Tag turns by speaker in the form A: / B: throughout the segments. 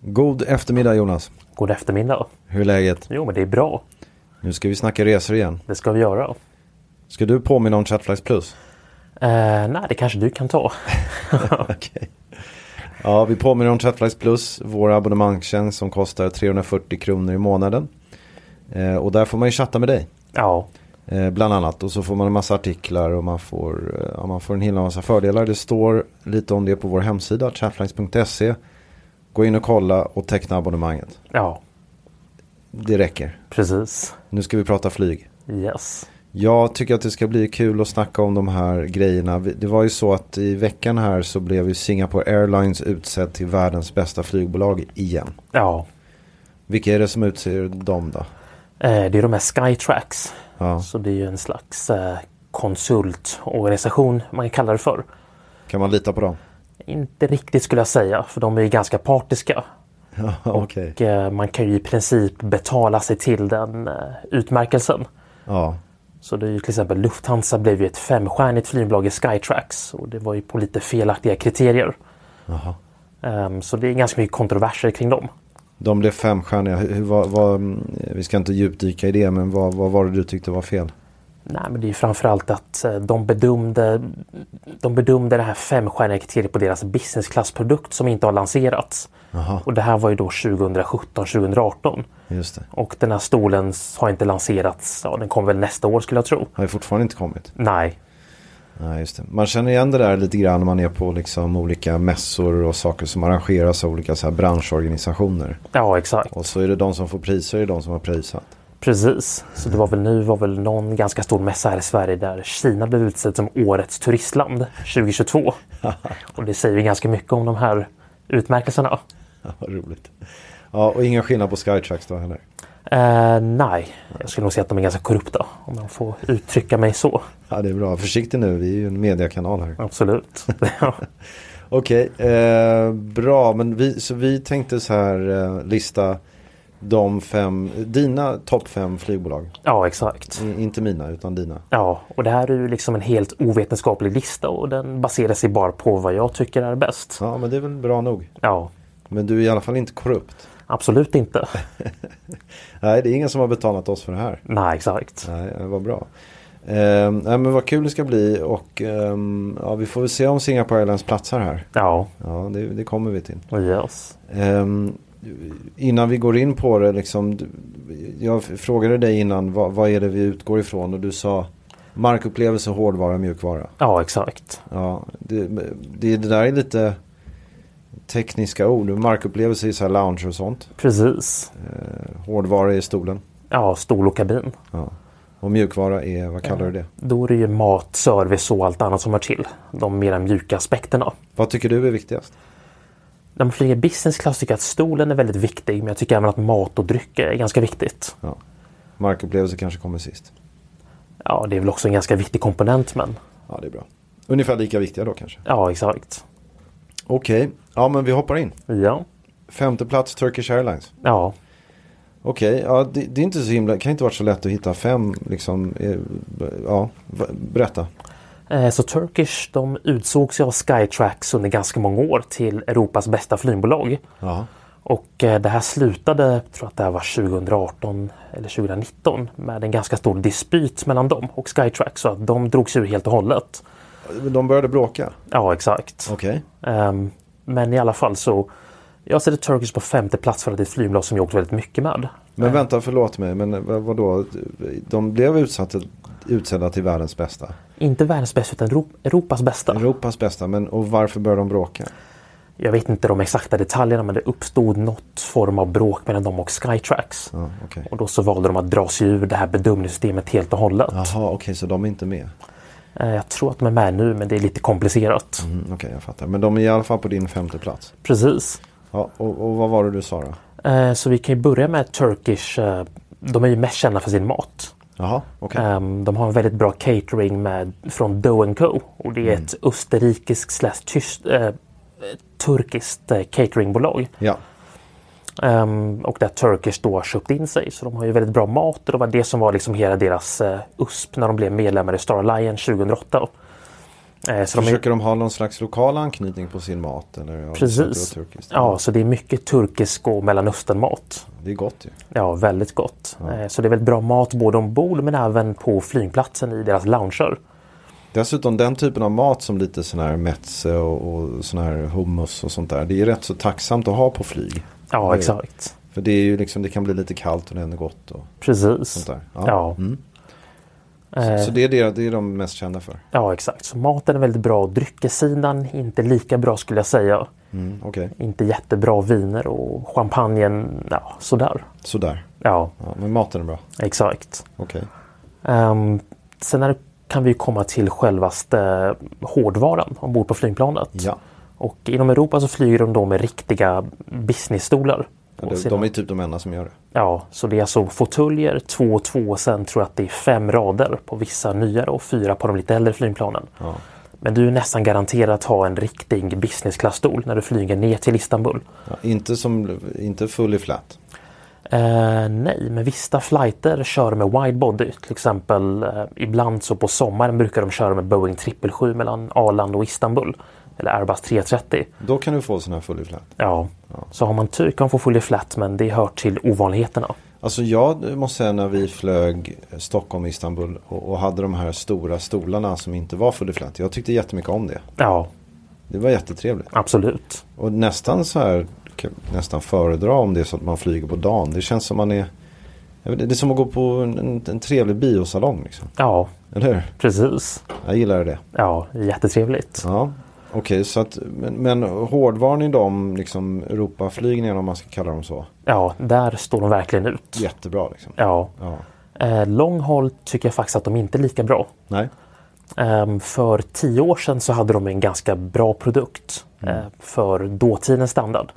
A: God eftermiddag Jonas.
B: God eftermiddag.
A: Hur är läget?
B: Jo, men det är bra.
A: Nu ska vi snacka resor igen.
B: Det ska vi göra.
A: Ska du påminna om Chatflex Plus?
B: Eh, nej, det kanske du kan ta.
A: Okej. Ja, vi påminner om Chatflex Plus, vår abonnemangstjänst som kostar 340 kronor i månaden. Eh, och där får man ju chatta med dig,
B: ja,
A: eh, bland annat. Och så får man en massa artiklar och man får, eh, ja, man får en hel massa fördelar. Det står lite om det på vår hemsida, chatflex.se. Gå in och kolla och teckna abonnemanget.
B: ja,
A: Det räcker.
B: precis.
A: Nu ska vi prata flyg.
B: Yes.
A: Jag tycker att det ska bli kul att snacka om de här grejerna. Vi- Det var ju så att i veckan här så blev ju Singapore Airlines utsedd till världens bästa flygbolag igen.
B: Ja,
A: Vilka är det som utser dem då?
B: eh, det är de här Skytracks.
A: Ja.
B: Så det är ju en slags eh, konsultorganisation man kan kalla det för.
A: Kan man lita på dem?
B: Inte riktigt skulle jag säga, för de är ju ganska partiska.
A: Okej.
B: Och, eh, man kan ju i princip betala sig till den eh, utmärkelsen.
A: Ja.
B: Så det är ju till exempel Lufthansa blev ju ett femstjärnigt flygbolag i Skytrax och det var ju på lite felaktiga kriterier. Ehm, så det är ganska mycket kontroverser kring dem.
A: De blev femstjärniga. Hur, hur, vad, vad, mm, vi ska inte djupdyka i det men vad, vad var det du tyckte var fel?
B: Nej, men det är ju framförallt att eh, de bedömde, de bedömde det här femstjärniga kriteriet på deras business class-produkt som inte har lanserats. Och det här var ju då 2017-2018.
A: Just det.
B: Och den här stolen har inte lanserats, ja, den kommer väl nästa år skulle jag tro.
A: Har ju fortfarande inte kommit.
B: Nej,
A: Nej, just det. Man känner igen det där lite grann när man är på liksom olika mässor och saker som arrangeras av olika så här branschorganisationer.
B: ja exakt.
A: Och så är det de som får priser, det är de som har prisat.
B: Precis. Så det var väl nu var väl någon ganska stor mässa här i Sverige där Kina blev utsedd som årets turistland 2022. Och det säger ju ganska mycket om de här utmärkelserna.
A: Vad roligt. Ja, och ingen skillnad på Skytrax då heller.
B: Eh, nej, jag skulle nog säga att de är ganska korrupta om jag får uttrycka mig så.
A: Ja, det är bra. Försiktig nu, vi är ju en mediekanal här.
B: Absolut. Ja.
A: Okej, eh, bra. Men vi, så vi tänkte så här eh, lista de fem, dina topp fem flygbolag.
B: ja, exakt.
A: I, inte mina, utan dina.
B: Ja, och det här är ju liksom en helt ovetenskaplig lista och den baserar sig bara på vad jag tycker är bäst.
A: Ja, men det är väl bra nog.
B: Ja,
A: Men du är i alla fall inte korrupt.
B: absolut inte.
A: Nej, det är ingen som har betalat oss för det här.
B: Nej, exakt.
A: Nej, vad bra. Eh, nej, men vad kul det ska bli och ehm, ja, vi får väl se om Singapore Airlines platsar här.
B: Ja,
A: Ja, det, det kommer vi till.
B: yes.
A: Ehm, innan vi går in på det, liksom, du- jag frågade dig innan vad, vad är det vi utgår ifrån och du sa markupplevelse, hårdvara, mjukvara.
B: Ja, exakt.
A: Ja, det, det, det där är lite tekniska ord. Markupplevelse är så här lounge och sånt.
B: Precis.
A: Hårdvara är stolen.
B: Ja, stol och kabin.
A: Och mjukvara är, vad kallar du det?
B: Då är det ju mat, service och allt annat som hör till. De mera mjuka aspekterna.
A: Vad tycker du är viktigast?
B: När man flyger business class tycker jag att stolen är väldigt viktig men jag tycker även att mat och dryck är ganska viktigt.
A: Ja. Markupplevelse kanske kommer sist.
B: Ja, det är väl också en ganska viktig komponent men
A: Ja, det är bra. Ungefär lika viktiga då kanske.
B: ja, exakt.
A: Okej, ja men vi hoppar in.
B: Ja,
A: Femte plats Turkish Airlines.
B: ja.
A: Okej, ja, det, det är inte så himla, kan inte varit så lätt att hitta fem liksom. eh, b- Ja, v- berätta.
B: Eh, Så Turkish de utsågs ju av Skytrax under ganska många år till Europas bästa flygbolag.
A: Ja.
B: Och eh, det här slutade, jag tror att det här var 2018 eller 2019, med en ganska stor dispyt mellan dem och Skytrax. Så att de drogs ur helt och hållet.
A: De började bråka.
B: Ja, exakt.
A: Okej.
B: Ehm, men i alla fall så. Jag sätter Turkish på femte plats för att det är ett flygbolag som jag åkt väldigt mycket med.
A: Men vänta, förlåt mig, men eh, vad- vadå? De blev utsatta, utsedda till världens bästa.
B: Inte världens bästa utan Ro- Europas bästa.
A: Europas bästa, men och varför började de bråka?
B: Jag vet inte de exakta detaljerna men det uppstod något form av bråk mellan dem och Skytrax.
A: Ja, okej.
B: Och då så valde de att dra sig ur det här bedömningssystemet helt och hållet.
A: Jaha, okej, så de är inte med.
B: Eh, Jag tror att de är med nu men det är lite komplicerat.
A: Mm, Okej, jag fattar. Men de är i alla fall på din femte plats.
B: Precis.
A: Ja, och, och vad var det du sa då?
B: Eh, Så vi kan ju börja med Turkish. eh, De är ju mest kända för sin mat.
A: Jaha, okej.
B: Ehm, De har en väldigt bra catering med, från Dough Co. Och det är
A: Mm.
B: ett österrikiskt slash tyst, eh, turkiskt eh, cateringbolag.
A: Ja,
B: Ehm, och där Turkish då har köpt in sig. Så de har ju väldigt bra mat och det var det som var liksom hela deras eh, USP när de blev medlemmar i Star Alliance 2008. Eh, så de är,
A: försöker de ha någon slags lokal anknytning på sin mat? Eller? Ja,
B: precis.
A: det var turkiskt.
B: Ja, så det är mycket turkisk och mellanösternmat.
A: Det är gott ju.
B: Ja, väldigt gott. Eh, så det är väldigt bra mat både ombord men även på flygplatsen i deras lounger.
A: Dessutom den typen av mat som lite sån här metze och, och sån här hummus och sånt där. Det är rätt så tacksamt att ha på flyg.
B: Ja,
A: Det är-
B: exakt.
A: För det är ju liksom, det kan bli lite kallt och det är ändå gott. Och,
B: Precis.
A: sånt där. Ja. Mm.
B: Ja. Ja. Eh.
A: Så det är det, det är de mest kända för.
B: exakt. Så maten är väldigt bra. Dryckessidan inte lika bra skulle jag säga.
A: Mm, Okej,
B: Inte jättebra viner och champagnen, ja, sådär.
A: sådär.
B: Ja,
A: Ja, men maten är bra.
B: exakt.
A: Okej.
B: Ehm, sen är, det- kan vi komma till självaste hårdvaran ombord på flygplanet.
A: Ja.
B: Och inom Europa så flyger de då med riktiga businessstolar.
A: Ja,
B: Och
A: det-
B: sedan-
A: de är typ de enda som gör det.
B: Ja, så det är alltså fåtöljer, två och två och sen tror jag att det är fem rader på vissa nyare och fyra på de lite äldre flygplanen. Men du är nästan garanterad att ha en riktig business class-stol när du flyger ner till Istanbul.
A: Ja, inte, som, inte full i flat.
B: Eh, nej, men vissa flighter kör med widebody. Till exempel eh, ibland så på sommaren brukar de köra med Boeing 777 mellan Arlanda och Istanbul. Eller Airbus 330.
A: Då kan du få sån här full i flat.
B: Ja. Så har man tur kan man få full i flat men det hör till ovanligheterna.
A: Alltså jag måste säga när vi flög Stockholm-Istanbul och, och hade de här stora stolarna som inte var full i flat. Jag tyckte jättemycket om det.
B: Ja,
A: Det var jättetrevligt.
B: absolut.
A: Och nästan så här, kan jag nästan föredra om det är så att man flyger på dagen. Det känns som man är, jag vet, inte, det är som att gå på en, en, en trevlig biosalong liksom.
B: Ja,
A: Eller hur?
B: precis.
A: Jag gillar det.
B: Ja, jättetrevligt.
A: Ja, okej. så att, men, men hårdvaran i de liksom Europaflygningarna om man ska kalla dem så.
B: Ja, där står de verkligen ut.
A: Jättebra liksom.
B: Ja.
A: Ja.
B: Eh, lång håll tycker jag faktiskt att de inte är lika bra.
A: Nej.
B: Ehm, för tio år sedan så hade de en ganska bra produkt
A: Mm.
B: eh, för dåtidens standard.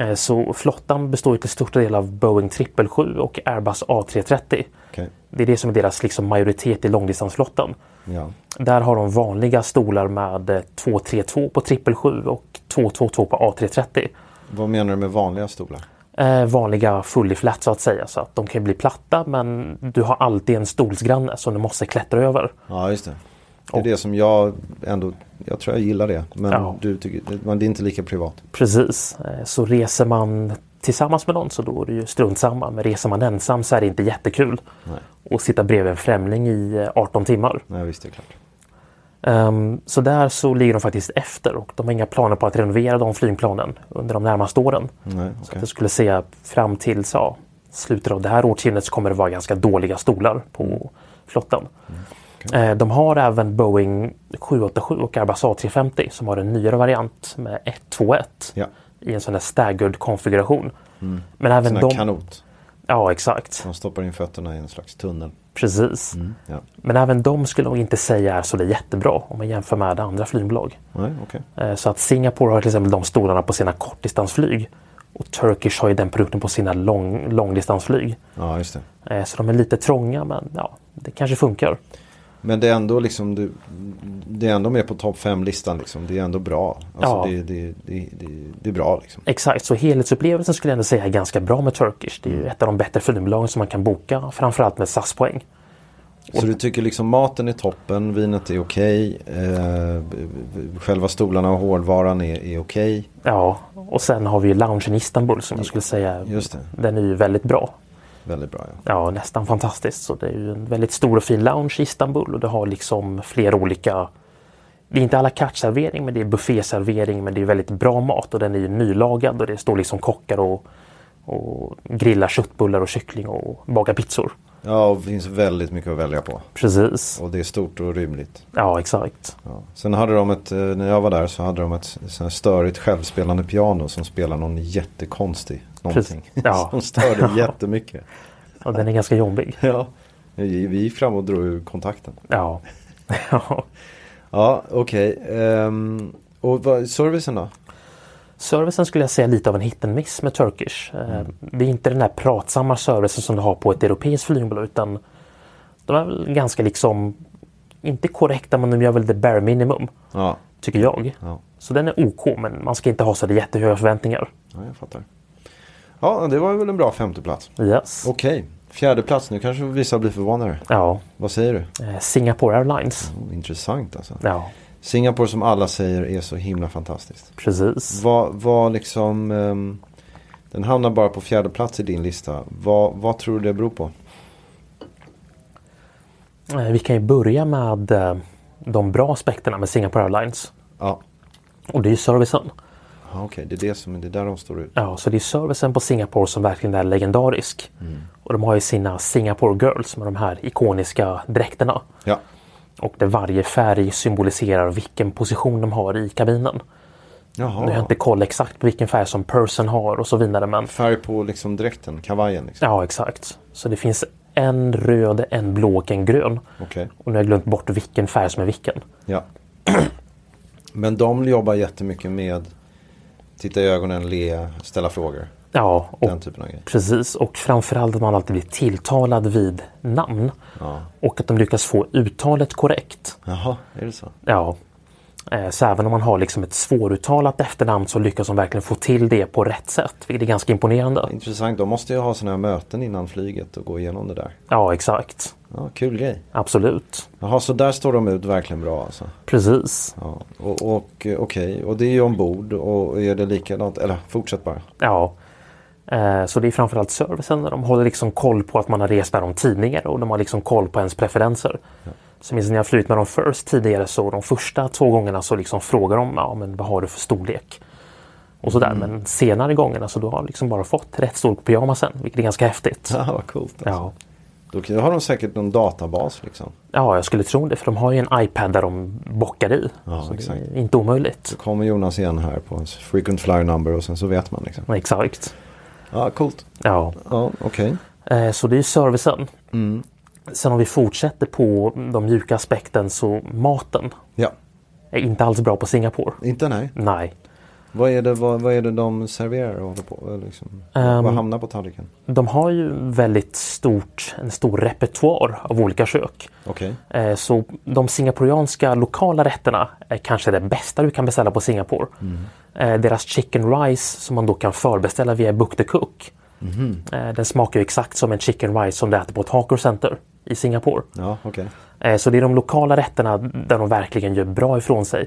B: Eh, så flottan består ju till största del av Boeing 777 och Airbus A330.
A: Okej.
B: Det är det som är deras liksom, majoritet i långdistansflottan.
A: Ja.
B: Där har de vanliga stolar med eh, 232 på 777 och 222 på A330.
A: Vad menar du med vanliga stolar?
B: eh, vanliga fully flat så att säga. Så att de kan ju bli platta men du har alltid en stolsgranne som du måste klättra över.
A: Ja, just det. Det är det som jag ändå, jag tror jag gillar det. Men
B: Ja.
A: du tycker, det- men det är inte lika privat.
B: Precis. Eh, så reser man tillsammans med någon så då är det ju strunt samma. Men reser man ensam så är det inte jättekul. Och sitta bredvid en främling i eh, 18 timmar.
A: Nej, visst det är klart.
B: Ehm, så där så ligger de faktiskt efter och de har inga planer på att renovera de flygplanen under de närmaste åren.
A: Nej,
B: Så att
A: okej.
B: jag skulle säga fram till ja, slutet av det här årtiondet så kommer det vara ganska dåliga stolar på flottan.
A: Mm.
B: Eh, De har även Boeing 787 och Airbus A350 som har en nyare variant med 121
A: Ja. Mm.
B: i en sån där staggered konfiguration. Men även
A: Sån
B: de...
A: här kanot.
B: Ja, exakt.
A: De stoppar in fötterna i en slags tunnel.
B: Precis.
A: Ja.
B: Men även de skulle jag inte säga är så där jättebra om man jämför med andra flygbolag.
A: Nej, okej.
B: Eh, Så att Singapore har till exempel de stolarna på sina kortdistansflyg. Och Turkish har ju den produkten på sina lång, långdistansflyg.
A: Ja, just det.
B: Eh, Så de är lite trånga men ja, det kanske funkar.
A: Men det är ändå liksom, du- det är ändå med på topp 5-listan liksom. Det är ändå bra. Alltså
B: Ja.
A: det, det, det, det, det är bra liksom.
B: Exakt, så helhetsupplevelsen skulle jag ändå säga är ganska bra med Turkish. Det är ju ett av de bättre filmbolagen som man kan boka, framförallt med SAS-poäng.
A: Så du tycker liksom maten är toppen, vinet är okej, eh, b- b- själva stolarna och hårdvaran är, är okej.
B: Ja, och sen har vi ju loungen i Istanbul som jag skulle säga,
A: Just det.
B: den är ju väldigt bra.
A: Väldigt bra ja.
B: Ja, nästan fantastiskt. Så det är ju en väldigt stor och fin lounge i Istanbul och det har liksom flera olika det är inte alla servering men det är bufféservering men det är väldigt bra mat och den är ju nylagad och det står liksom kockar och, och grillar köttbullar och kyckling och bakar pizzor.
A: Ja, och det finns väldigt mycket att välja på.
B: Precis.
A: Och det är stort och rymligt.
B: Ja, exakt.
A: Ja. Sen hade de ett, eh, när jag var där så hade de ett sån här störigt självspelande piano som spelar någon jättekonstig någonting.
B: Precis. Ja.
A: som störde jättemycket.
B: Och den är ganska jobbig.
A: Ja. Vi vi gick fram och drog ur kontakten.
B: Ja. ja.
A: Ja, okej. Ehm, och vad, servicen då?
B: Servicen skulle jag säga är lite av en hit and miss med Turkish. Eh, Det är inte den här pratsamma servicen som du har på ett europeiskt flygbolag utan de är väl ganska liksom inte korrekta men de gör väl det bare minimum
A: Ja,
B: tycker jag.
A: Ja.
B: Så den är OK men man ska inte ha så där jättehöga förväntningar.
A: ja jag fattar. Ja, det var väl en bra femteplats.
B: Yes.
A: Okej, fjärde plats. Nu kanske vissa blir förvånade.
B: Ja.
A: Vad säger du?
B: Eh, Singapore Airlines.
A: Oh, intressant alltså.
B: Ja,
A: Singapore som alla säger är så himla fantastiskt.
B: precis.
A: Vad, vad liksom, ehm, den hamnar bara på fjärde plats i din lista. Vad, vad tror du det beror på?
B: Eh, Vi kan ju börja med eh, de bra aspekterna med Singapore Airlines.
A: Ja,
B: Och det är ju servicen.
A: ja, okej, det är det som det är där de står ut.
B: Ja, så det är servicen på Singapore som verkligen är legendarisk. Och de har ju sina Singapore Girls med de här ikoniska dräkterna.
A: Ja,
B: Och där varje färg symboliserar vilken position de har i kabinen. Nu har jag
A: jaha.
B: inte koll exakt på vilken färg som Person har och så vidare men
A: Färg på liksom dräkten, kavajen liksom.
B: ja exakt. Så det finns en röd, en blå och en grön.
A: Okej,
B: Och nu har jag glömt bort vilken färg som är vilken.
A: ja. Men de jobbar jättemycket med titta i ögonen, le, ställa frågor.
B: Ja, och
A: Den typen av grejer.
B: Precis, och framförallt att man alltid blir tilltalad vid namn. Och att de lyckas få uttalet korrekt.
A: Jaha, är det så?
B: Ja. Eh, Så även om man har liksom ett svåruttalat efternamn så lyckas de verkligen få till det på rätt sätt. Vilket är ganska imponerande.
A: Intressant, de måste ju ha sådana här möten innan flyget och gå igenom det där.
B: Ja, exakt.
A: Ja, kul grej.
B: Absolut.
A: Jaha, så där står de ut verkligen bra alltså.
B: Precis.
A: Ja, och, och eh, okej, och det är ju ombord och är det likadant? Eller fortsätt bara.
B: Ja. Eh, Så det är framförallt servicen. där De håller liksom koll på att man har rest med dem tidigare och de har liksom koll på ens preferenser. Så minns när jag flugit med dem först tidigare så de första två gångerna så liksom frågar de ja, men vad har du för storlek. Och sådär.
A: Mm.
B: Men senare gångerna så då har de liksom bara fått rätt storlek på pyjamasen. Vilket är ganska häftigt.
A: Ja, vad coolt alltså.
B: Ja.
A: Då kan- då har de säkert någon databas liksom.
B: Ja, jag skulle tro det. För de har ju en iPad där de bockar i.
A: Ja,
B: så
A: exakt.
B: det är inte omöjligt.
A: Då kommer Jonas igen här på en frequent flyer number och sen så vet man liksom.
B: Exakt.
A: Ja, coolt.
B: Ja.
A: Ja, okej.
B: Eh, Så det är ju servicen. Sen om vi fortsätter på de mjuka aspekten så maten
A: Ja,
B: är inte alls bra på Singapore.
A: inte nej.
B: Nej.
A: Vad är det, vad, vad är det de serverar och håller på eh, liksom? Vad hamnar på tallriken?
B: De har ju väldigt stort, en stor repertoar av olika kök.
A: Okej.
B: Eh, Så de singaporeanska lokala rätterna är kanske det bästa du kan beställa på Singapore. Eh, Deras chicken rice som man då kan förbeställa via Book the Cook. Eh, Den smakar ju exakt som en chicken rice som du äter på ett hawker center i Singapore.
A: Ja, okej.
B: Eh, Så det är de lokala rätterna där de verkligen gör bra ifrån sig.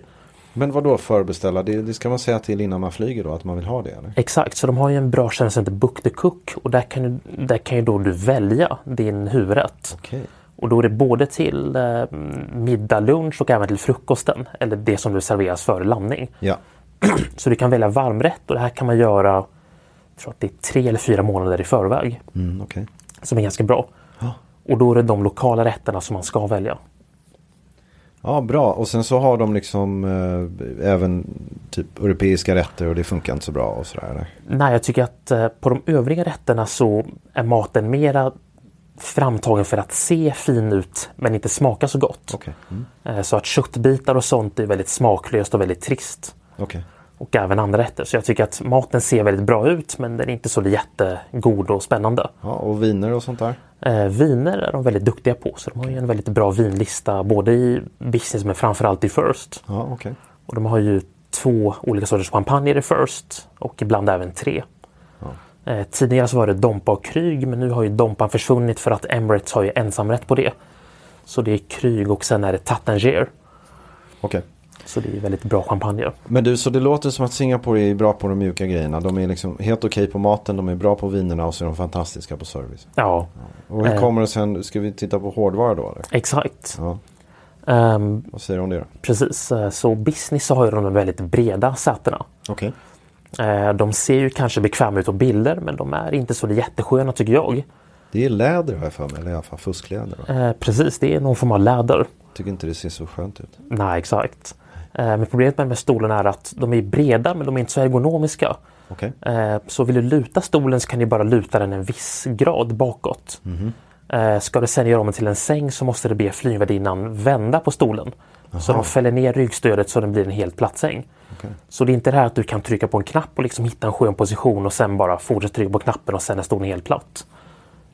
A: Men vad då förbeställa? Det, det ska man säga till innan man flyger då, att man vill ha det eller?
B: Exakt, så de har ju en bra tjänst som heter Book the Cook och där kan, ju, där kan ju då du välja din huvudrätt.
A: Okej.
B: Och då är det både till eh, middag, lunch och även till frukosten eller det som du serveras före landning.
A: Ja,
B: Så du kan välja varmrätt och det här kan man göra jag tror att det är tre eller fyra månader i förväg
A: mm, okej.
B: som är ganska bra. Och då är det de lokala rätterna som man ska välja.
A: Ja, bra. Och sen så har de liksom eh, även typ europeiska rätter och det funkar inte så bra och sådär. eller?
B: Nej, jag tycker att eh, på de övriga rätterna så är maten mera framtagen för att se fin ut men inte smaka så gott.
A: Okej. Mm.
B: Eh, Så att köttbitar och sånt är väldigt smaklöst och väldigt trist.
A: Okej.
B: Och även andra rätter. Så jag tycker att maten ser väldigt bra ut men den är inte så jättegod och spännande.
A: Ja, och viner och sånt där.
B: Eh, viner är de väldigt duktiga på så de har ju en väldigt bra vinlista både i business men framförallt i First.
A: Ja, okej.
B: Och de har ju två olika sorters champagne i det First och ibland även tre. Eh, tidigare så var det Dompa och Kryg men nu har ju Dompan försvunnit för att Emirates har ju ensamrätt på det. Så det är Kryg och sen är det Tattinger.
A: Okej.
B: Så det är väldigt bra champagne.
A: Men du, så det låter som att Singapore är bra på de mjuka grejerna. De är liksom helt okej på maten, de är bra på vinerna och så är de fantastiska på service.
B: Ja,
A: Och hur
B: Eh.
A: kommer det sen, ska vi titta på hårdvara då eller?
B: exakt.
A: Ja,
B: Ehm,
A: vad säger du om det då?
B: precis, Eh, så business så har ju de väldigt breda sätena.
A: Okej.
B: Eh, De ser ju kanske bekväma ut på bilder men de är inte så jättesköna tycker jag.
A: Det är läder har jag för mig, eller i alla fall fuskläder. Va?
B: Eh, Precis, det är någon form av läder.
A: Tycker inte det ser så skönt ut.
B: Nej, exakt. Eh, Men problemet med de här stolarna är att de är breda men de är inte så ergonomiska.
A: Okej.
B: Eh, Så vill du luta stolen så kan du bara luta den en viss grad bakåt.
A: Mhm.
B: Eh, Ska du sen göra om den till en säng så måste du be flygvärdinnan vända på stolen. Så de fäller ner ryggstödet så den blir en helt platt säng. Så det är inte det här att du kan trycka på en knapp och liksom hitta en skön position och sen bara fortsätta trycka på knappen och sen är stolen helt platt.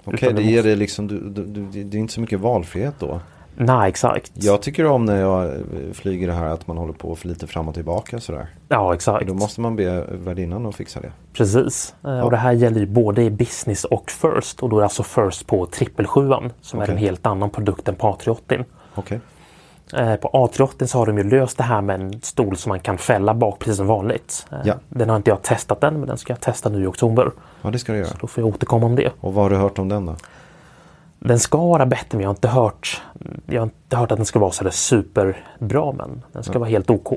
A: Okej,
B: Utan
A: det
B: du
A: ger dig liksom, du, du, du, det- det är inte så mycket valfrihet då.
B: Nej, exakt.
A: Jag tycker om när jag eh, flyger det här att man håller på för lite fram och tillbaka sådär.
B: Ja, exakt.
A: Då måste man be värdinnan att fixa det.
B: Precis. Eh, Och det här gäller ju både i business och first. Och då är det alltså first på 777 som är
A: Okej.
B: en helt annan produkt än på A380.
A: Okej.
B: Eh, På A380 så har de ju löst det här med en stol som man kan fälla bak precis som vanligt. Eh,
A: Ja.
B: Den har inte jag testat än men den ska jag testa nu i oktober.
A: Ja, det ska du göra.
B: Då får jag återkomma om det.
A: Och vad har du hört om den då?
B: Den ska vara bättre men jag har inte hört, jag har inte hört att den ska vara sådär superbra men den ska vara helt OK.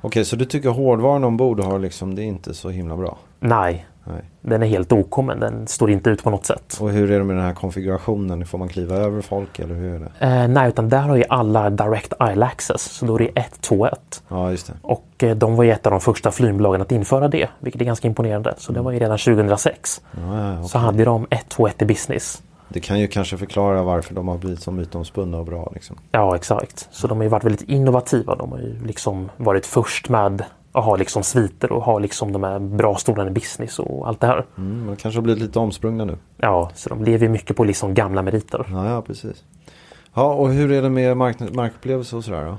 A: Okej, så du tycker hårdvaran ombord har liksom, det är inte så himla bra?
B: Nej,
A: Nej.
B: den är helt OK men den står inte ut på något sätt.
A: Och hur är det med den här konfigurationen? Får man kliva över folk eller hur är det?
B: Eh, nej, utan där har ju alla direct aisle access, så då är det 121.
A: Ja, just det.
B: Och eh, de var ju ett av de första flygbolagen att införa det, vilket är ganska imponerande. Så det var ju redan 2006.
A: Ja, ja,
B: Så
A: Mm. okej.
B: hade de 121 i business.
A: Det kan ju kanske förklara varför de har blivit så mytomspunna och bra liksom.
B: Ja, exakt. Så de har ju varit väldigt innovativa. De har ju liksom varit först med att ha liksom sviter och ha liksom de här bra stolarna i business och allt det här.
A: Mm, men de kanske har blivit lite omsprungna nu.
B: Ja, så de lever ju mycket på liksom gamla meriter.
A: Ja, ja precis. Ja, och hur är det med mark- markupplevelse och sådär då?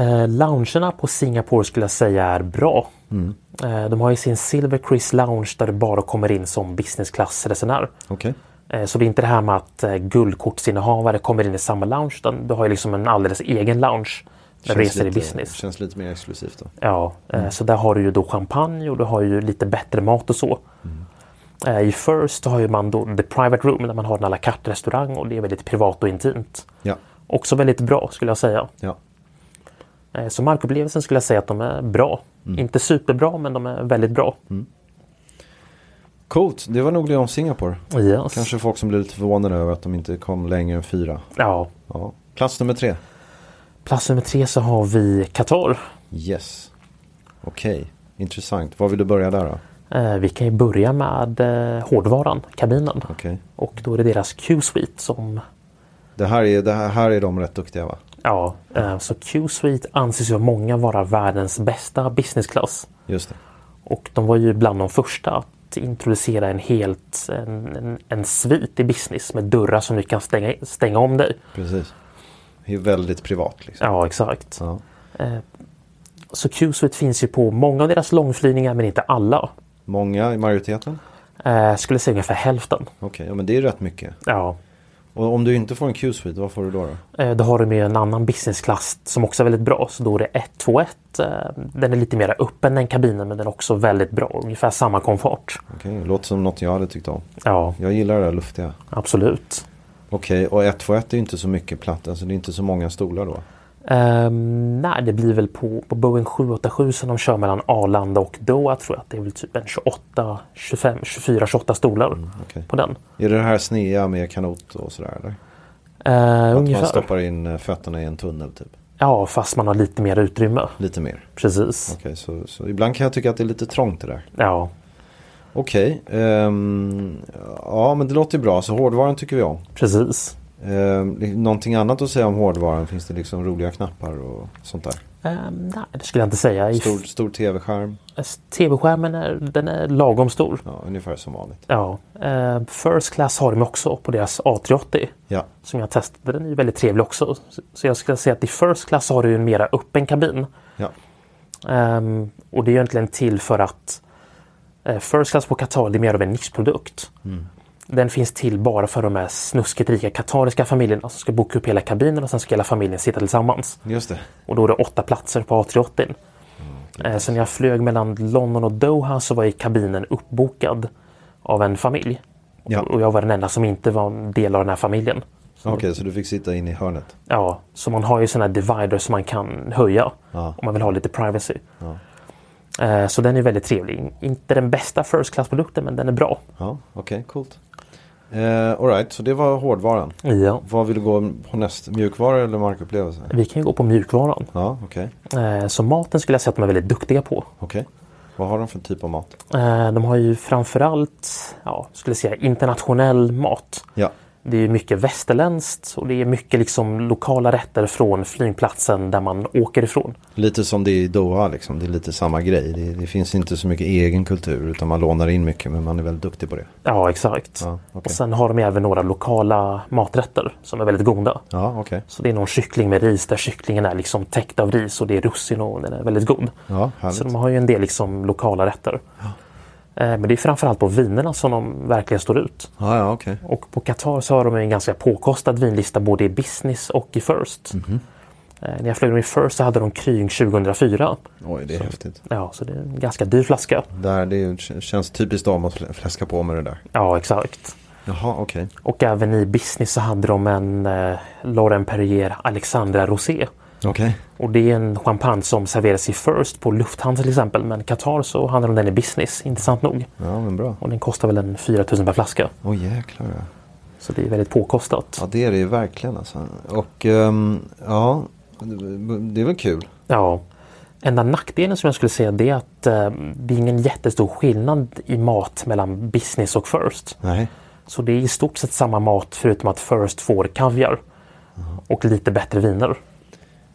B: Eh, loungerna på Singapore skulle jag säga är bra.
A: Mm.
B: Eh, de har ju sin Silver Chris Lounge där du bara kommer in som business class-resenär.
A: Okej.
B: Eh, så det är inte det här med att eh, guldkortsinnehavare kommer in i samma lounge utan du har ju liksom en alldeles egen lounge. När du
A: Känns
B: reser
A: lite- Mm.
B: i business.
A: Känns lite mer exklusivt då.
B: Ja, eh, så där har du ju då champagne och du har ju lite bättre mat och så.
A: Mm.
B: Eh, I First har ju man då the private room där man har en à la carte restaurang och det är väldigt privat och intimt.
A: Ja,
B: Också väldigt bra skulle jag säga.
A: ja.
B: Eh, Så markupplevelsen skulle jag säga att de är bra.
A: Mm.
B: Inte superbra men de är väldigt bra.
A: Coolt, det var nog det om Singapore.
B: Yes.
A: Kanske folk som blev lite förvånade över att de inte kom längre än fyra.
B: Ja.
A: Ja. Plats nummer tre.
B: Plats nummer tre så har vi Qatar.
A: Yes. Okej, intressant. Var vill du börja där då?
B: Eh, Vi kan ju börja med eh, hårdvaran, kabinen.
A: Okej.
B: Och då är det deras Q-suite som...
A: Det, här är, det här, här är de rätt duktiga va?
B: Ja, eh, så Q-suite anses ju av många vara världens bästa businessklass.
A: Just det.
B: Och de var ju bland de första att introducera en helt en, en, en svit i business med dörrar som du kan stänga, stänga om dig.
A: Precis. Det är väldigt privat liksom.
B: Ja, exakt.
A: Ja.
B: Så Q-suite finns ju på många av deras långflygningar men inte alla.
A: Många i majoriteten?
B: Eh, skulle säga ungefär hälften.
A: Okej, ja, men det är rätt mycket.
B: Ja.
A: Och om du inte får en Q-suite, vad får du då? då?
B: Eh, då har de ju en annan businessklass som också är väldigt bra. Så då är det 121. Eh, den är lite mer öppen än kabinen men den är också väldigt bra. Ungefär samma komfort.
A: Okej, det låter som något jag hade tyckt om.
B: Ja,
A: Jag gillar det där luftiga.
B: absolut.
A: Okej, och 121 är ju inte så mycket platt, alltså det är inte så många stolar då.
B: Ehm, nej, det blir väl på, på Boeing 787 som de kör mellan Arlanda och Doha tror jag att det är väl typ en 28, 25, 24, 28 stolar
A: okej.
B: på den.
A: Är det det här snea med kanot och sådär eller?
B: Eh,
A: Att man
B: ungefär.
A: stoppar in eh, fötterna i en tunnel typ?
B: Ja, fast man har lite mer utrymme.
A: Lite mer.
B: Precis.
A: Okej, så, så ibland kan jag tycka att det är lite trångt det där.
B: Ja,
A: Okej, ehm, ja men det låter ju bra. Så hårdvaran tycker vi om.
B: precis.
A: Eh, någonting annat att säga om hårdvaran? Finns det liksom roliga knappar och sånt där?
B: Eh, nej, det skulle jag inte säga. I-
A: Stor, stor tv-skärm?
B: TV-skärmen är, den är lagom stor.
A: Ja, ungefär som vanligt.
B: Ja. Eh, First Class har de också på deras A380.
A: Ja,
B: Som jag testade. Den är ju väldigt trevlig också. Så- Så jag skulle säga att i First Class har du ju en mera öppen kabin.
A: ja.
B: Ehm, och det är egentligen till för att eh, First Class på Qatar det är mer av en nischprodukt.
A: Mm.
B: Den finns till bara för de här snuskigt rika qatariska familjerna som ska boka upp hela kabinen och sen ska hela familjen sitta tillsammans.
A: just det.
B: Och då är det åtta platser på
A: Mm,
B: A380. Eh, så när jag flög mellan London och Doha så var ju kabinen uppbokad av en familj.
A: Ja.
B: Och jag var den enda som inte var en del av den här familjen.
A: Okej, så du fick sitta in i hörnet.
B: Ja, så man har ju sådana här dividers som man kan höja
A: Ja.
B: om man vill ha lite privacy. Eh, Så den är väldigt trevlig. Inte den bästa first class-produkten men den är bra.
A: Ja, okej, coolt. Eh, Alright, så det var hårdvaran.
B: Ja.
A: Vad vill du gå på näst? Mjukvara eller markupplevelse?
B: Vi kan ju gå på mjukvaran.
A: Ja, okej.
B: Eh, Så maten skulle jag säga att de är väldigt duktiga på.
A: Okej. Vad har de för typ av mat?
B: Eh, De har ju framförallt, ja, skulle jag säga internationell mat.
A: Ja,
B: Det är ju mycket västerländskt och det är mycket liksom lokala rätter från flygplatsen där man åker ifrån.
A: lite som det är i Doha liksom. Det är lite samma grej. Det, det finns inte så mycket egen kultur utan man lånar in mycket men man är väldigt duktig på det.
B: Ja, exakt.
A: Ja, okej.
B: Och sen har de ju även några lokala maträtter som är väldigt goda.
A: Ja, okej.
B: Så det är någon kyckling med ris där kycklingen är liksom täckt av ris och det är russin och den är väldigt god.
A: Ja,
B: så
A: härligt.
B: de har ju en del liksom lokala rätter. Eh, Men det är framförallt på vinerna som de verkligen står ut.
A: Ja, ja, okej.
B: Och på Qatar så har de ju en ganska påkostad vinlista både i business och i first.
A: Mhm.
B: Eh, När jag flög dem i first så hade de Krying 2004.
A: Oj, det är häftigt.
B: Ja, så det är en ganska dyr flaska.
A: Där, det är, ju- k- känns typiskt dem att fl- fläska på med det där.
B: Ja, exakt.
A: Jaha, okej.
B: Och även i business så hade de en eh, Lauren Perrier Alexandra Rosé.
A: Okej.
B: Och det är en champagne som serveras i First på Lufthansa till exempel. Men Qatar så handlar de den i business, intressant nog.
A: Ja, men bra.
B: Och den kostar väl en 4000 per flaska.
A: Åh jäklar ja.
B: Så det är väldigt påkostat.
A: Ja, det är det ju verkligen alltså. Och ehm, ja, det- det är väl kul.
B: Ja. Enda nackdelen som jag skulle säga det är att eh, det är ingen jättestor skillnad i mat mellan business och First.
A: Nej.
B: Så det är i stort sett samma mat förutom att First får kaviar. Och lite bättre viner.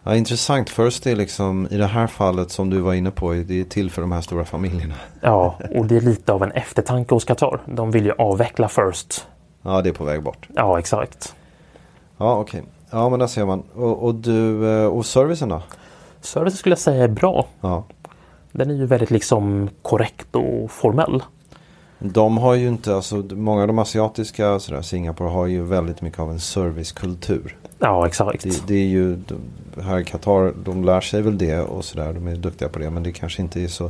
A: Ja, intressant. First är liksom i det här fallet som du var inne på. Det är till för de här stora familjerna.
B: Ja, och det är lite av en eftertanke hos Qatar. De vill ju avveckla First.
A: Ja, det är på väg bort.
B: Ja, exakt.
A: Ja, okej. Ja, men där ser man. Och, och du, eh, och servicen då?
B: Service skulle jag säga är bra.
A: Ja.
B: Den är ju väldigt liksom korrekt och formell.
A: De har ju inte, alltså många av de asiatiska, sådär, Singapore har ju väldigt mycket av en servicekultur.
B: Ja, exakt.
A: Det, det är ju, de, här i Qatar, de lär sig väl det och sådär, de är duktiga på det. Men det kanske inte är så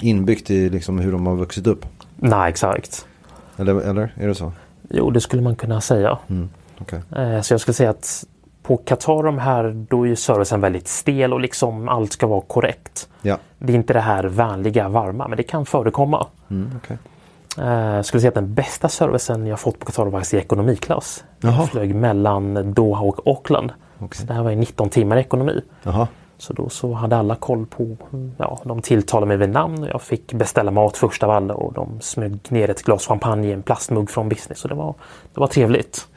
A: inbyggt i liksom hur de har vuxit upp.
B: Nej, exakt.
A: Eller, eller? är det så?
B: Jo, det skulle man kunna säga.
A: Okej.
B: Eh, Så jag skulle säga att på Qatar de här, då är ju servicen väldigt stel och liksom allt ska vara korrekt.
A: Ja,
B: Det är inte det här vänliga, varma, men det kan förekomma.
A: mm, okej.
B: Eh, Jag skulle säga att den bästa servicen jag fått på Qatar var faktiskt i ekonomiklass.
A: Jaha.
B: Jag flög mellan Doha och Auckland. Så det här var ju 19 timmar ekonomi.
A: Jaha.
B: Så då så hade alla koll på, ja, de tilltalade mig vid namn och jag fick beställa mat först av alla och de smög ner ett glas champagne i en plastmugg från business och det var, det var trevligt.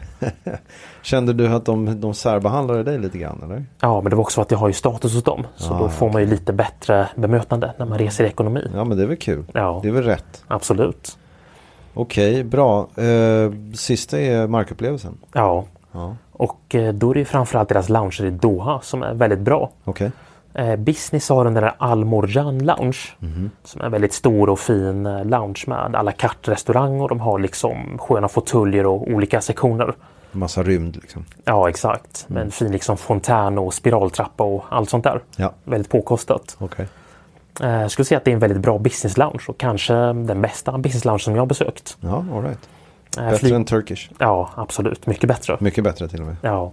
A: Kände du att de, de särbehandlade dig lite grann eller?
B: Ja, men det var också att jag har ju status hos dem så
A: Ah,
B: då får man ju lite bättre bemötande när man reser i ekonomi.
A: Ja men det är väl kul.
B: Ja.
A: Mm. Det är väl rätt.
B: Absolut.
A: Okej, bra. Eh, sista är markupplevelsen.
B: Ja. Och eh, då är det ju framförallt deras lounger i Doha som är väldigt bra.
A: Okej.
B: Eh, business har den där Al Morjan Lounge.
A: Mhm.
B: Som är en väldigt stor och fin eh, lounge med à la carte restaurang och de har liksom sköna fåtöljer och olika sektioner.
A: Massa rymd liksom.
B: Ja exakt.
A: Mm.
B: Med en fin liksom fontän och spiraltrappa och allt sånt där.
A: Ja.
B: Väldigt påkostat.
A: Okej.
B: Eh, Jag skulle säga att det är en väldigt bra business lounge och kanske den bästa business lounge som jag har besökt.
A: Ja, alright.
B: Eh,
A: Bättre
B: flyg-
A: än Turkish.
B: Ja absolut, mycket bättre.
A: Mycket bättre till och med.
B: Ja.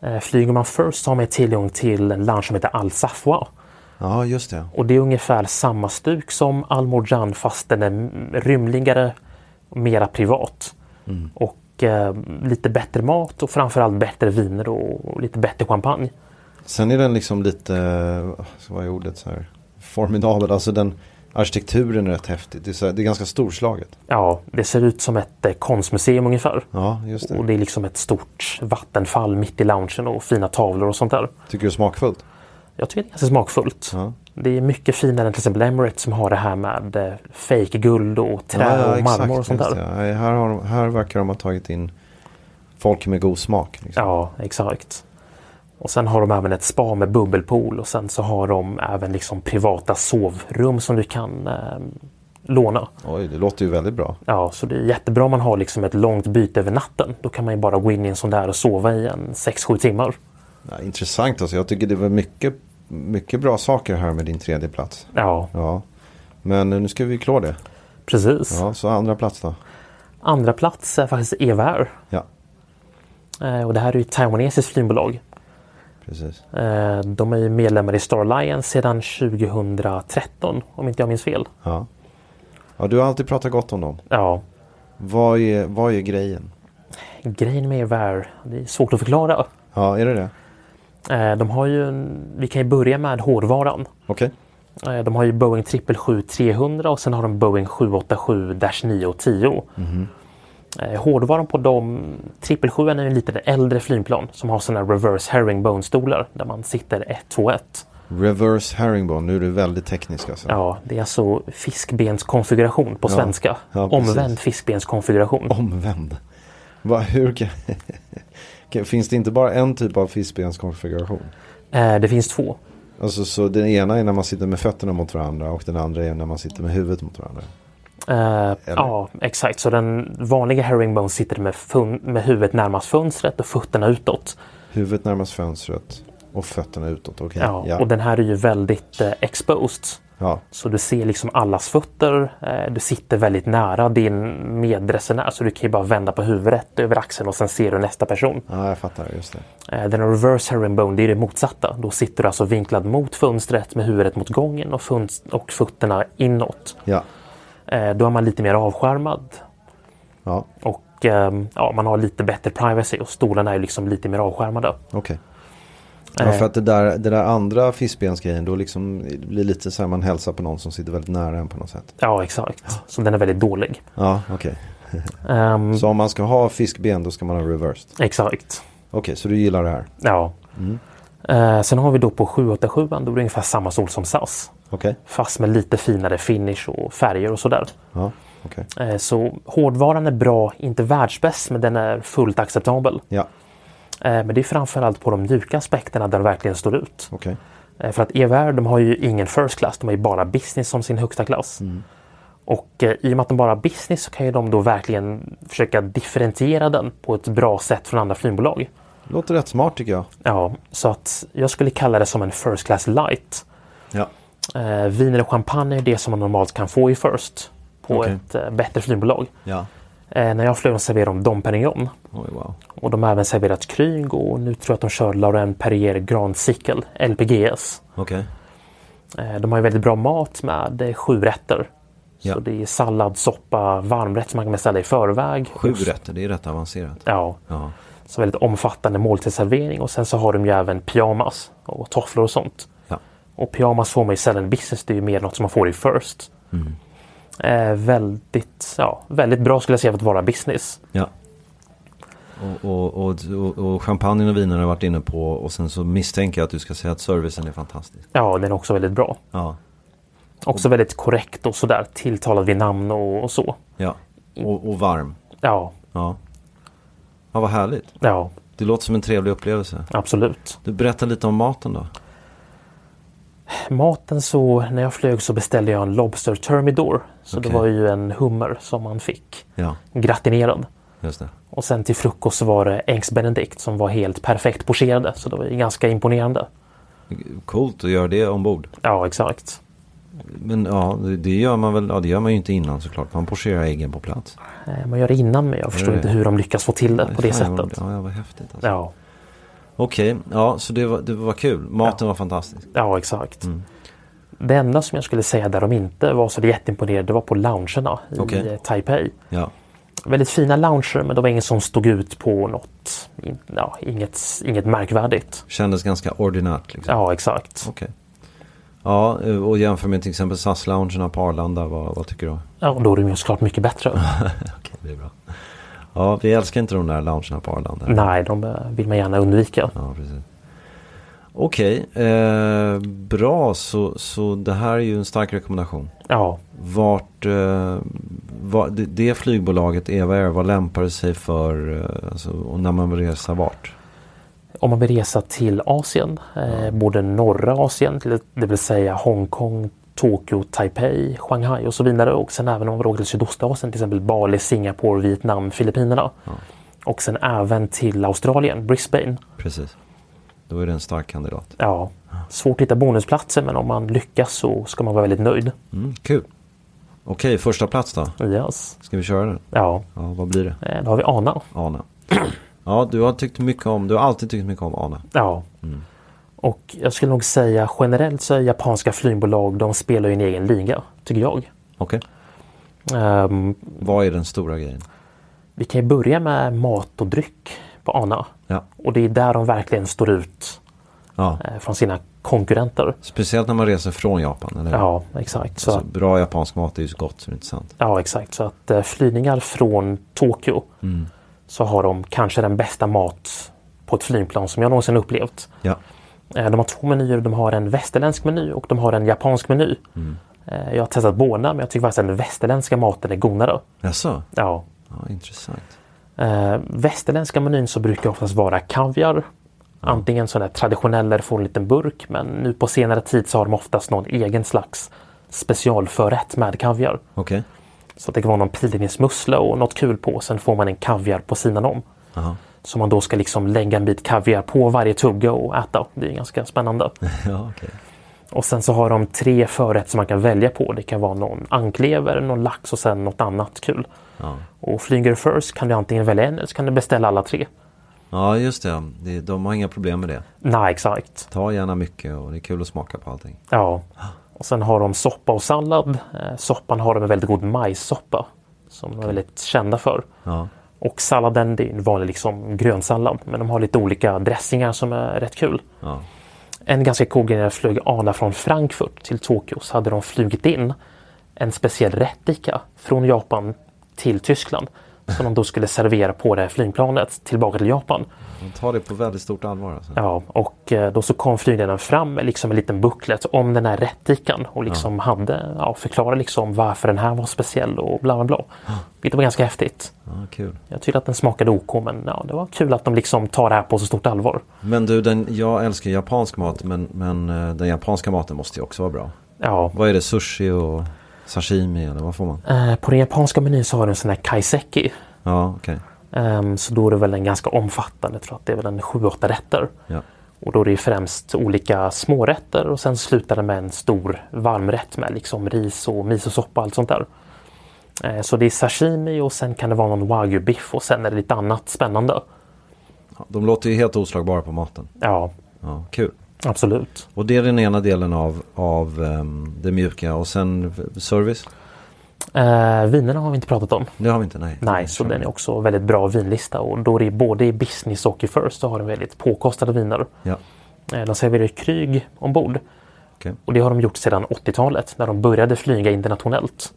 B: Eh, Flyger man först så har man tillgång till en lounge som heter Al Safwa.
A: Ja, just det.
B: Och det är ungefär samma stuk som Al Morjan fast den är m- rymligare, mera privat.
A: Mm.
B: Och eh, lite bättre mat och framförallt bättre viner och lite bättre champagne.
A: Sen är den liksom lite, eh, vad är ordet så här, formidabel. Alltså den, Arkitekturen är rätt häftig. Det är, så här, det är ganska storslaget.
B: Ja, det ser ut som ett eh, konstmuseum ungefär.
A: Ja, just det.
B: Och det är liksom ett stort vattenfall mitt i loungen och fina tavlor och sånt där.
A: Tycker du det är smakfullt?
B: Jag tycker det är ganska smakfullt.
A: Ja.
B: Det är mycket finare än till exempel Emirates som har det här med eh, fake-guld och trä och marmor och sånt
A: just
B: där.
A: det. Nej, Här, har de, här verkar de ha tagit in folk med god smak. Liksom.
B: Ja, exakt. Och sen har de även ett spa med bubbelpool och sen så har de även liksom privata sovrum som du kan eh, låna.
A: Oj, det låter ju väldigt bra.
B: Ja, så det är jättebra om man har liksom ett långt byte över natten. Då kan man ju bara gå in i en sån där och sova i en 6-7 timmar.
A: Ja, intressant alltså. Jag tycker det var mycket, mycket bra saker här med din tredje plats.
B: Ja,
A: Ja. Men eh, nu ska vi klå det.
B: precis.
A: Ja, så andra plats då.
B: Andra plats är faktiskt Eva Air.
A: Ja,
B: Eh, och det här är ju ett taiwanesiskt flygbolag.
A: precis.
B: Eh, de är ju medlemmar i Star Alliance sedan 2013 om inte jag minns fel.
A: Ja. Ja, du har alltid pratat gott om dem.
B: Ja,
A: Vad är, vad är grejen?
B: grejen med Eva Air, det är svårt att förklara.
A: Ja, är det det?
B: Eh, De har ju, en- vi kan ju börja med hårdvaran.
A: Okej.
B: Eh, De har ju Boeing 777-300 och sen har de Boeing 787-9 och 10.
A: Mhm.
B: Eh, Hårdvaran på de 777 är ju en lite äldre flygplan som har sådana reverse herringbone-stolar där man sitter 1-2-1.
A: Reverse herringbone. Nu är du väldigt teknisk alltså.
B: Ja, det är alltså fiskbenskonfiguration på svenska.
A: ja, precis.
B: Omvänd fiskbenskonfiguration.
A: Omvänd. Va, hur kan... Kan- Finns det inte bara en typ av fiskbenskonfiguration?
B: Eh, Det finns två.
A: Alltså så den ena är när man sitter med fötterna mot varandra och den andra är när man sitter med huvudet mot varandra.
B: Eh, ja, exakt. Så den vanliga herringbone sitter med, fun- med huvudet närmast fönstret och fötterna utåt.
A: Huvudet närmast fönstret och fötterna utåt. Okej,
B: Ja,
A: ja.
B: Och den här är ju väldigt eh, exposed.
A: ja.
B: Så du ser liksom allas fötter. Eh, du sitter väldigt nära din medresenär så du kan ju bara vända på huvudet över axeln och sen ser du nästa person.
A: Ja, jag fattar. Just det.
B: Eh, den reverse herringbone, det är det motsatta. Då sitter du alltså vinklad mot fönstret med huvudet mot gången och, fönst- och fötterna inåt.
A: Ja,
B: Eh, då är man lite mer avskärmad.
A: ja.
B: Och ehm, ja, man har lite bättre privacy och stolarna är ju liksom lite mer avskärmade.
A: okej. Ja,
B: Eh.
A: för att det där, det där andra fiskbensgrejen då liksom det blir lite så här man hälsar på någon som sitter väldigt nära en på något sätt.
B: Ja, exakt. Så den är väldigt dålig.
A: Ja, okej.
B: Ehm,
A: Så om man ska ha fiskben då ska man ha reversed.
B: exakt.
A: Okej, så du gillar det här.
B: Ja. Eh, sen har vi då på 787 då är det ungefär samma stol som SAS.
A: Okej.
B: Fast med lite finare finish och färger och sådär.
A: Ja, okej.
B: Eh, så hårdvaran är bra, inte världsbäst men den är fullt acceptabel.
A: Ja,
B: Eh, men det är framförallt på de mjuka aspekterna där den verkligen står ut.
A: okej.
B: Eh, För att EVR de har ju ingen first class, de har ju bara business som sin högsta klass. Och eh, i och med att de bara har business så kan ju de då verkligen försöka differentiera den på ett bra sätt från andra flygbolag.
A: Låter rätt smart tycker jag.
B: Ja, så att jag skulle kalla det som en first class light.
A: Ja.
B: Eh, viner och champagne är det som man normalt kan få i first på
A: Okej.
B: ett eh, bättre flygbolag.
A: Ja.
B: Eh, när jag flög serverade de Dom Perignon
A: Oj, wow.
B: och de har även serverat Kryg och nu tror jag att de kör Laurent Perrier Grand Cycle, LPGS.
A: Okej.
B: Eh, De har ju väldigt bra mat med eh, sju rätter.
A: Ja.
B: Så det är sallad, soppa, varmrätt som man kan beställa i förväg. Och-
A: rätter, det är rätt avancerat.
B: Ja,
A: Ja.
B: så väldigt omfattande måltidsservering och sen så har de ju även pyjamas och tofflor och sånt.
A: Ja.
B: Och pyjamas får man ju sällan i business, det är ju mer något som man får i first.
A: Mm.
B: Eh, väldigt, ja, väldigt bra skulle jag säga för att vara business.
A: ja. Och, och, och, och, och champagne och viner har jag varit inne på och sen så misstänker jag att du ska säga att servicen är fantastisk.
B: Ja, den är också väldigt bra.
A: Ja.
B: Också
A: Mm.
B: väldigt korrekt och sådär, tilltalad vid namn och, och så.
A: Ja. Och, och varm.
B: Ja,
A: Ja. Ja, vad härligt.
B: ja,
A: Det låter som en trevlig upplevelse.
B: absolut.
A: Du berättar lite om maten då.
B: Maten så, när jag flög så beställde jag en Lobster Thermidor. Så
A: Okej.
B: det var ju en hummer som man fick
A: Ja,
B: gratinerad.
A: just det.
B: Och sen till frukost så var det Eggs Benedict som var helt perfekt pocherade. Så det var ju ganska imponerande.
A: Coolt att göra det ombord.
B: Ja, exakt.
A: Men ja, det- det gör man väl, ja det gör man ju inte innan såklart. Man pocherar äggen på plats.
B: Eh, Man gör det innan men jag förstår
A: det?
B: inte hur de lyckas få till det på det
A: Fan, vad-
B: sättet.
A: Mm. Ja, ja, vad häftigt. Alltså.
B: Ja,
A: Okej, ja så det var, det var kul. Maten var fantastisk.
B: ja exakt.
A: Mm.
B: Det enda som jag skulle säga där de inte var så jätteimponerade var på loungerna i
A: Okej.
B: eh, Taipei.
A: Ja,
B: Väldigt fina lounger men det var ingen som stod ut på något, in- ja, inget, inget märkvärdigt.
A: kändes ganska ordinärt liksom.
B: Ja, exakt.
A: Okej. Ja, eh, och jämför med till exempel SAS-loungerna på Arlanda, vad, vad tycker du?
B: Ja, och då är de ju såklart mycket bättre.
A: Okej, det är bra. Ja, vi älskar inte de där loungerna på Arlanda.
B: Nej, de eh, vill man gärna undvika.
A: Ja, precis. Okej, eh, bra. Så, så det här är ju en stark rekommendation.
B: Ja,
A: Vart, eh, va- det, det flygbolaget, Eva Air, vad lämpar det sig för eh, alltså, och när man vill resa vart?
B: om man vill resa till Asien, eh, både norra Asien, till- det vill säga Hongkong, Tokyo, Taipei, Shanghai och så vidare. Och sen även om man åker till Sydostasien, till exempel Bali, Singapore, Vietnam, Filippinerna. Och sen även till Australien, Brisbane.
A: Precis. Då är det en stark kandidat.
B: Ja, svårt att hitta bonusplatser men om man lyckas så ska man vara väldigt nöjd.
A: Mm, kul. Okej, första plats då.
B: Yes.
A: Ska vi köra den?
B: Ja,
A: Ja, vad blir det?
B: eh, då har vi ANA.
A: Ana. Ja, du har tyckt mycket om, du har alltid tyckt mycket om Ana.
B: Ja. Och jag skulle nog säga generellt så är japanska flygbolag, de spelar ju en egen liga, tycker jag.
A: Okej.
B: Ehm,
A: Vad är den stora grejen?
B: vi kan ju börja med mat och dryck på ANA.
A: Ja.
B: Och det är där de verkligen står ut
A: ja.
B: eh, från sina konkurrenter.
A: Speciellt när man reser från Japan, eller hur?
B: Ja, exakt. Så,
A: Alltså, bra japansk mat är ju så gott så det är inte sant.
B: ja, exakt. så att eh, flygningar från Tokyo så har de kanske den bästa mat på ett flygplan som jag någonsin upplevt.
A: Ja.
B: Eh, De har två menyer. De har en västerländsk meny och de har en japansk meny. Eh, Jag har testat båda men jag tycker faktiskt att den västerländska maten är godare.
A: Jaså?
B: Ja.
A: Ja, intressant.
B: Eh, Västerländska menyn så brukar oftast vara
A: Mm.
B: kaviar. Antingen sån där traditionell där du får en liten burk men nu på senare tid så har de oftast någon egen slags specialförrätt med kaviar.
A: Okej.
B: Så att det kan vara någon pilgrimsmussla och något kul på. Sen får man en kaviar på sidan om.
A: Jaha.
B: Som man då ska liksom lägga en bit kaviar på varje tugga och äta. Det är ganska spännande.
A: Ja, okej.
B: Och sen så har de tre förrätt som man kan välja på. Det kan vara någon anklever, någon lax och sen något annat kul.
A: Ja.
B: Och flyger du first kan du antingen välja en eller så kan du beställa alla tre.
A: ja, just det. det. De har inga problem med det.
B: Nej, exakt.
A: Ta gärna mycket och det är kul att smaka på allting.
B: Ja. Och sen har de soppa och sallad. Eh, Soppan har de en väldigt god majssoppa. Som de är väldigt kända för.
A: Ja,
B: Och salladen det är en vanlig liksom grönsallad. Men de har lite olika dressingar som är rätt kul.
A: ja.
B: En ganska cool grej när jag flög ANA från Frankfurt till Tokyo så hade de flugit in en speciell rättika från Japan till Tyskland som de då skulle servera på det här flygplanet tillbaka till Japan.
A: De tar det på väldigt stort allvar alltså.
B: Ja, och eh, då så kom flygledaren fram med liksom en liten booklet om den här rättikan och liksom hade, ja, förklarade liksom varför den här var speciell och bla bla bla. Vilket var ganska häftigt.
A: Ja, kul.
B: Jag tyckte att den smakade OK men ja, det var kul att de liksom tar det här på så stort allvar.
A: Men du, den, jag älskar japansk mat men, men eh, den japanska maten måste ju också vara bra.
B: Ja,
A: Vad är det? Sushi och sashimi eller vad får man?
B: eh, på den japanska menyn så har de en sån här kaiseki
A: Ja, okej.
B: Ehm, Så då är det väl en ganska omfattande, jag tror att det är väl en 7-8 rätter.
A: Ja.
B: Och då är det främst olika smårätter och sen slutar det med en stor varmrätt med liksom ris och misosoppa och allt sånt där. Eh, Så det är sashimi och sen kan det vara någon wagyu-biff och sen är det lite annat spännande.
A: Ja, De låter ju helt oslagbara på maten.
B: Ja,
A: Ja, kul.
B: absolut.
A: Och det är den ena delen av, av ehm, det mjuka och sen service?
B: Eh, vinerna har vi inte pratat om.
A: Det har vi inte, nej.
B: Nej, så den är också väldigt bra vinlista och då är det både i business och i first så har de väldigt påkostade viner.
A: Ja,
B: Eh, De serverar ju kryg ombord.
A: okej.
B: Och det har de gjort sedan 80-talet när de började flyga internationellt.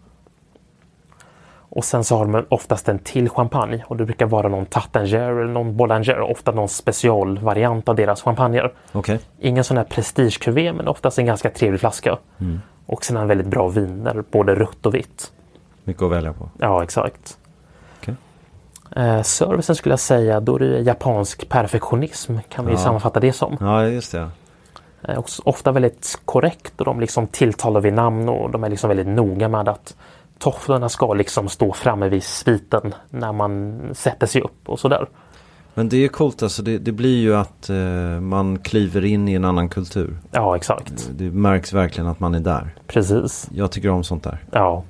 B: Och sen så har de oftast en till champagne och det brukar vara någon Tattinger eller någon Bollinger, ofta någon specialvariant av deras champagner.
A: Okej,
B: Ingen sån här prestigekuvé men oftast en ganska trevlig flaska.
A: Mm.
B: Och sen har de väldigt bra viner, både rött och vitt.
A: mycket att välja på.
B: Ja, exakt.
A: Okej.
B: Eh, servicen skulle jag säga, då är det japansk perfektionism kan vi sammanfatta det som.
A: Ja, just det.
B: Eh, också ofta väldigt korrekt och de liksom tilltalar vid namn och de är liksom väldigt noga med att tofflorna ska liksom stå framme vid sviten när man sätter sig upp och sådär.
A: Men det är coolt alltså, det, det blir ju att eh, man kliver in i en annan kultur.
B: Ja, exakt.
A: Det märks verkligen att man är där.
B: Precis.
A: Jag tycker om sånt där.
B: Ja,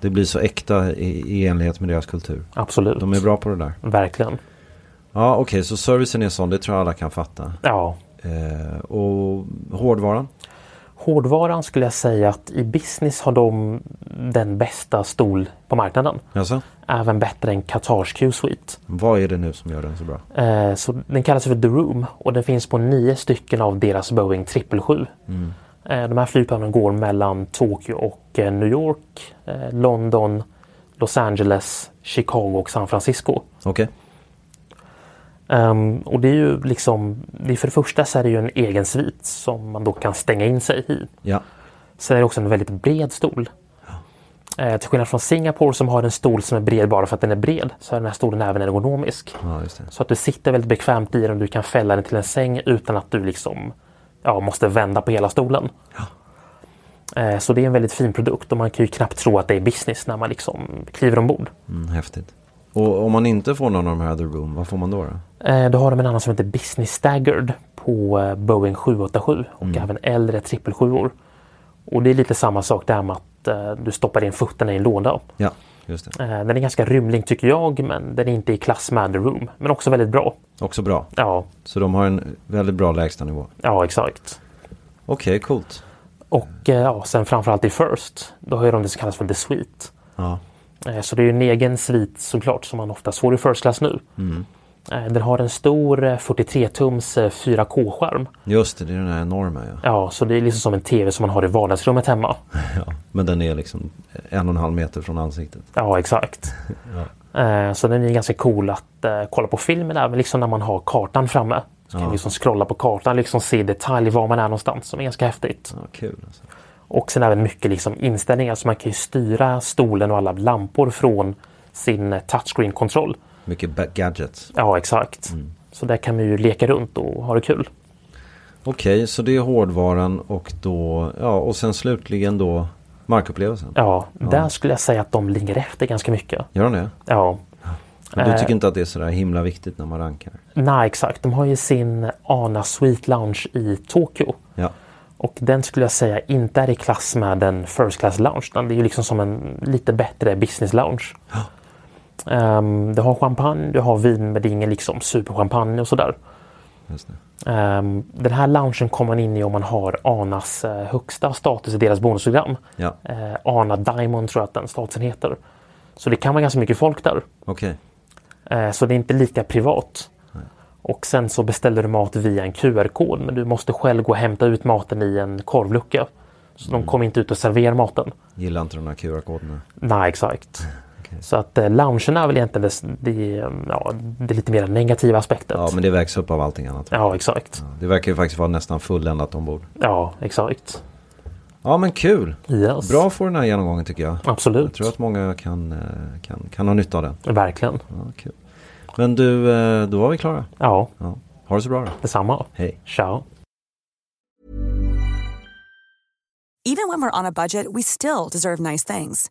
A: Det blir så äkta i, i enlighet med deras kultur.
B: absolut.
A: De är bra på det där.
B: Verkligen.
A: Ja, okej, så servicen är sån, det tror jag alla kan fatta.
B: Ja.
A: Eh, och hårdvaran?
B: Hårdvaran skulle jag säga att i business har de den bästa stol på marknaden.
A: Alltså,
B: Även bättre än Qatars Q-suite.
A: vad är det nu som gör den så bra?
B: Eh, så den kallas för The Room och den finns på nio stycken av deras Boeing 777. Eh, De här flygplanen går mellan Tokyo och eh, New York, eh, London, Los Angeles, Chicago och San Francisco.
A: Okej.
B: Ehm, och det är ju liksom, det är för det första så är det ju en egen svit som man då kan stänga in sig i.
A: Ja.
B: Sen är det också en väldigt bred stol. Eh, till skillnad från Singapore som har en stol som är bred bara för att den är bred så är den här stolen även ergonomisk.
A: ja, just det.
B: Så att du sitter väldigt bekvämt i den och du kan fälla den till en säng utan att du liksom ja, måste vända på hela stolen. Eh, Så det är en väldigt fin produkt och man kan ju knappt tro att det är business när man liksom kliver ombord.
A: Mm, häftigt. Och om man inte får någon av de här The Room, vad får man då? då?
B: Eh, Då har de en annan som heter Business Staggered på eh, Boeing 787 och även äldre 777 Och det är lite samma sak där med att eh, du stoppar in fötterna i en låda.
A: Ja, just det.
B: Eh, Den är ganska rymlig tycker jag men den är inte i klass med The Room. Men också väldigt bra.
A: Också bra.
B: Ja,
A: Så de har en väldigt bra lägstanivå.
B: ja exakt.
A: Okej, coolt.
B: Och eh, ja, sen framförallt i First, då har ju de det som kallas för The Suite.
A: Ja.
B: Eh, Så det är ju en egen svit såklart som man ofta får i First Class nu. Eh, Den har en stor eh, 43-tums eh, 4K-skärm.
A: Just det, det är den här enorma ja.
B: Ja, så det är liksom som en TV som man har i vardagsrummet hemma.
A: ja. Men den är liksom en och en halv meter från ansiktet.
B: Ja, exakt. Eh, Så den är ganska cool att eh, kolla på filmen även liksom när man har kartan framme. Så kan man liksom scrolla på kartan, liksom se i detalj var man är någonstans som är ganska häftigt.
A: Ja, kul alltså.
B: Och sen även mycket liksom inställningar så man kan ju styra stolen och alla lampor från sin eh, touchscreen-kontroll.
A: Mycket ba- gadgets.
B: Ja, exakt. Så där kan man ju leka runt och ha det kul.
A: Okej, så det är hårdvaran och då, ja och sen slutligen då markupplevelsen.
B: Ja, där skulle jag säga att de ligger efter ganska mycket.
A: Gör den det?
B: Ja,
A: Men
B: Eh.
A: du tycker inte att det är sådär himla viktigt när man rankar?
B: nej exakt. De har ju sin Ana Sweet Lounge i Tokyo.
A: Ja,
B: Och den skulle jag säga inte är i klass med en First Class Lounge. utan Det är ju liksom som en lite bättre Business Lounge. Ehm, du har champagne, du har vin men det är ingen liksom superchampagne och sådär.
A: just det.
B: Ehm, den här loungen kommer man in i om man har ANAs eh, högsta status i deras bonusprogram.
A: Ja,
B: Eh, ANA Diamond tror jag att den statusen heter. Så det kan vara ganska mycket folk där.
A: okej.
B: Eh, Så det är inte lika privat. Och sen så beställer du mat via en QR-kod men du måste själv gå och hämta ut maten i en korvlucka. Så
A: Mm.
B: de kommer inte ut och serverar maten.
A: Gillar inte de här QR-koderna.
B: Nej, exakt. Så att eh, loungen är väl egentligen det, det, mm, ja, det lite mer negativa aspektet.
A: Ja, men det vägs upp av allting annat.
B: ja exakt.
A: Det verkar ju faktiskt vara nästan fulländat ombord.
B: Ja, exakt.
A: Ja, men kul!
B: Yes.
A: Bra för den här genomgången tycker jag. Jag
B: Absolut.
A: tror att många kan, eh, kan, kan ha nytta av den.
B: Verkligen.
A: Ja, kul. Men du, eh, då var vi klara.
B: Ja,
A: Ja. Ha det så bra då.
B: detsamma.
A: Hej.
B: Ciao.
C: Even when we're on a budget, we still deserve nice things.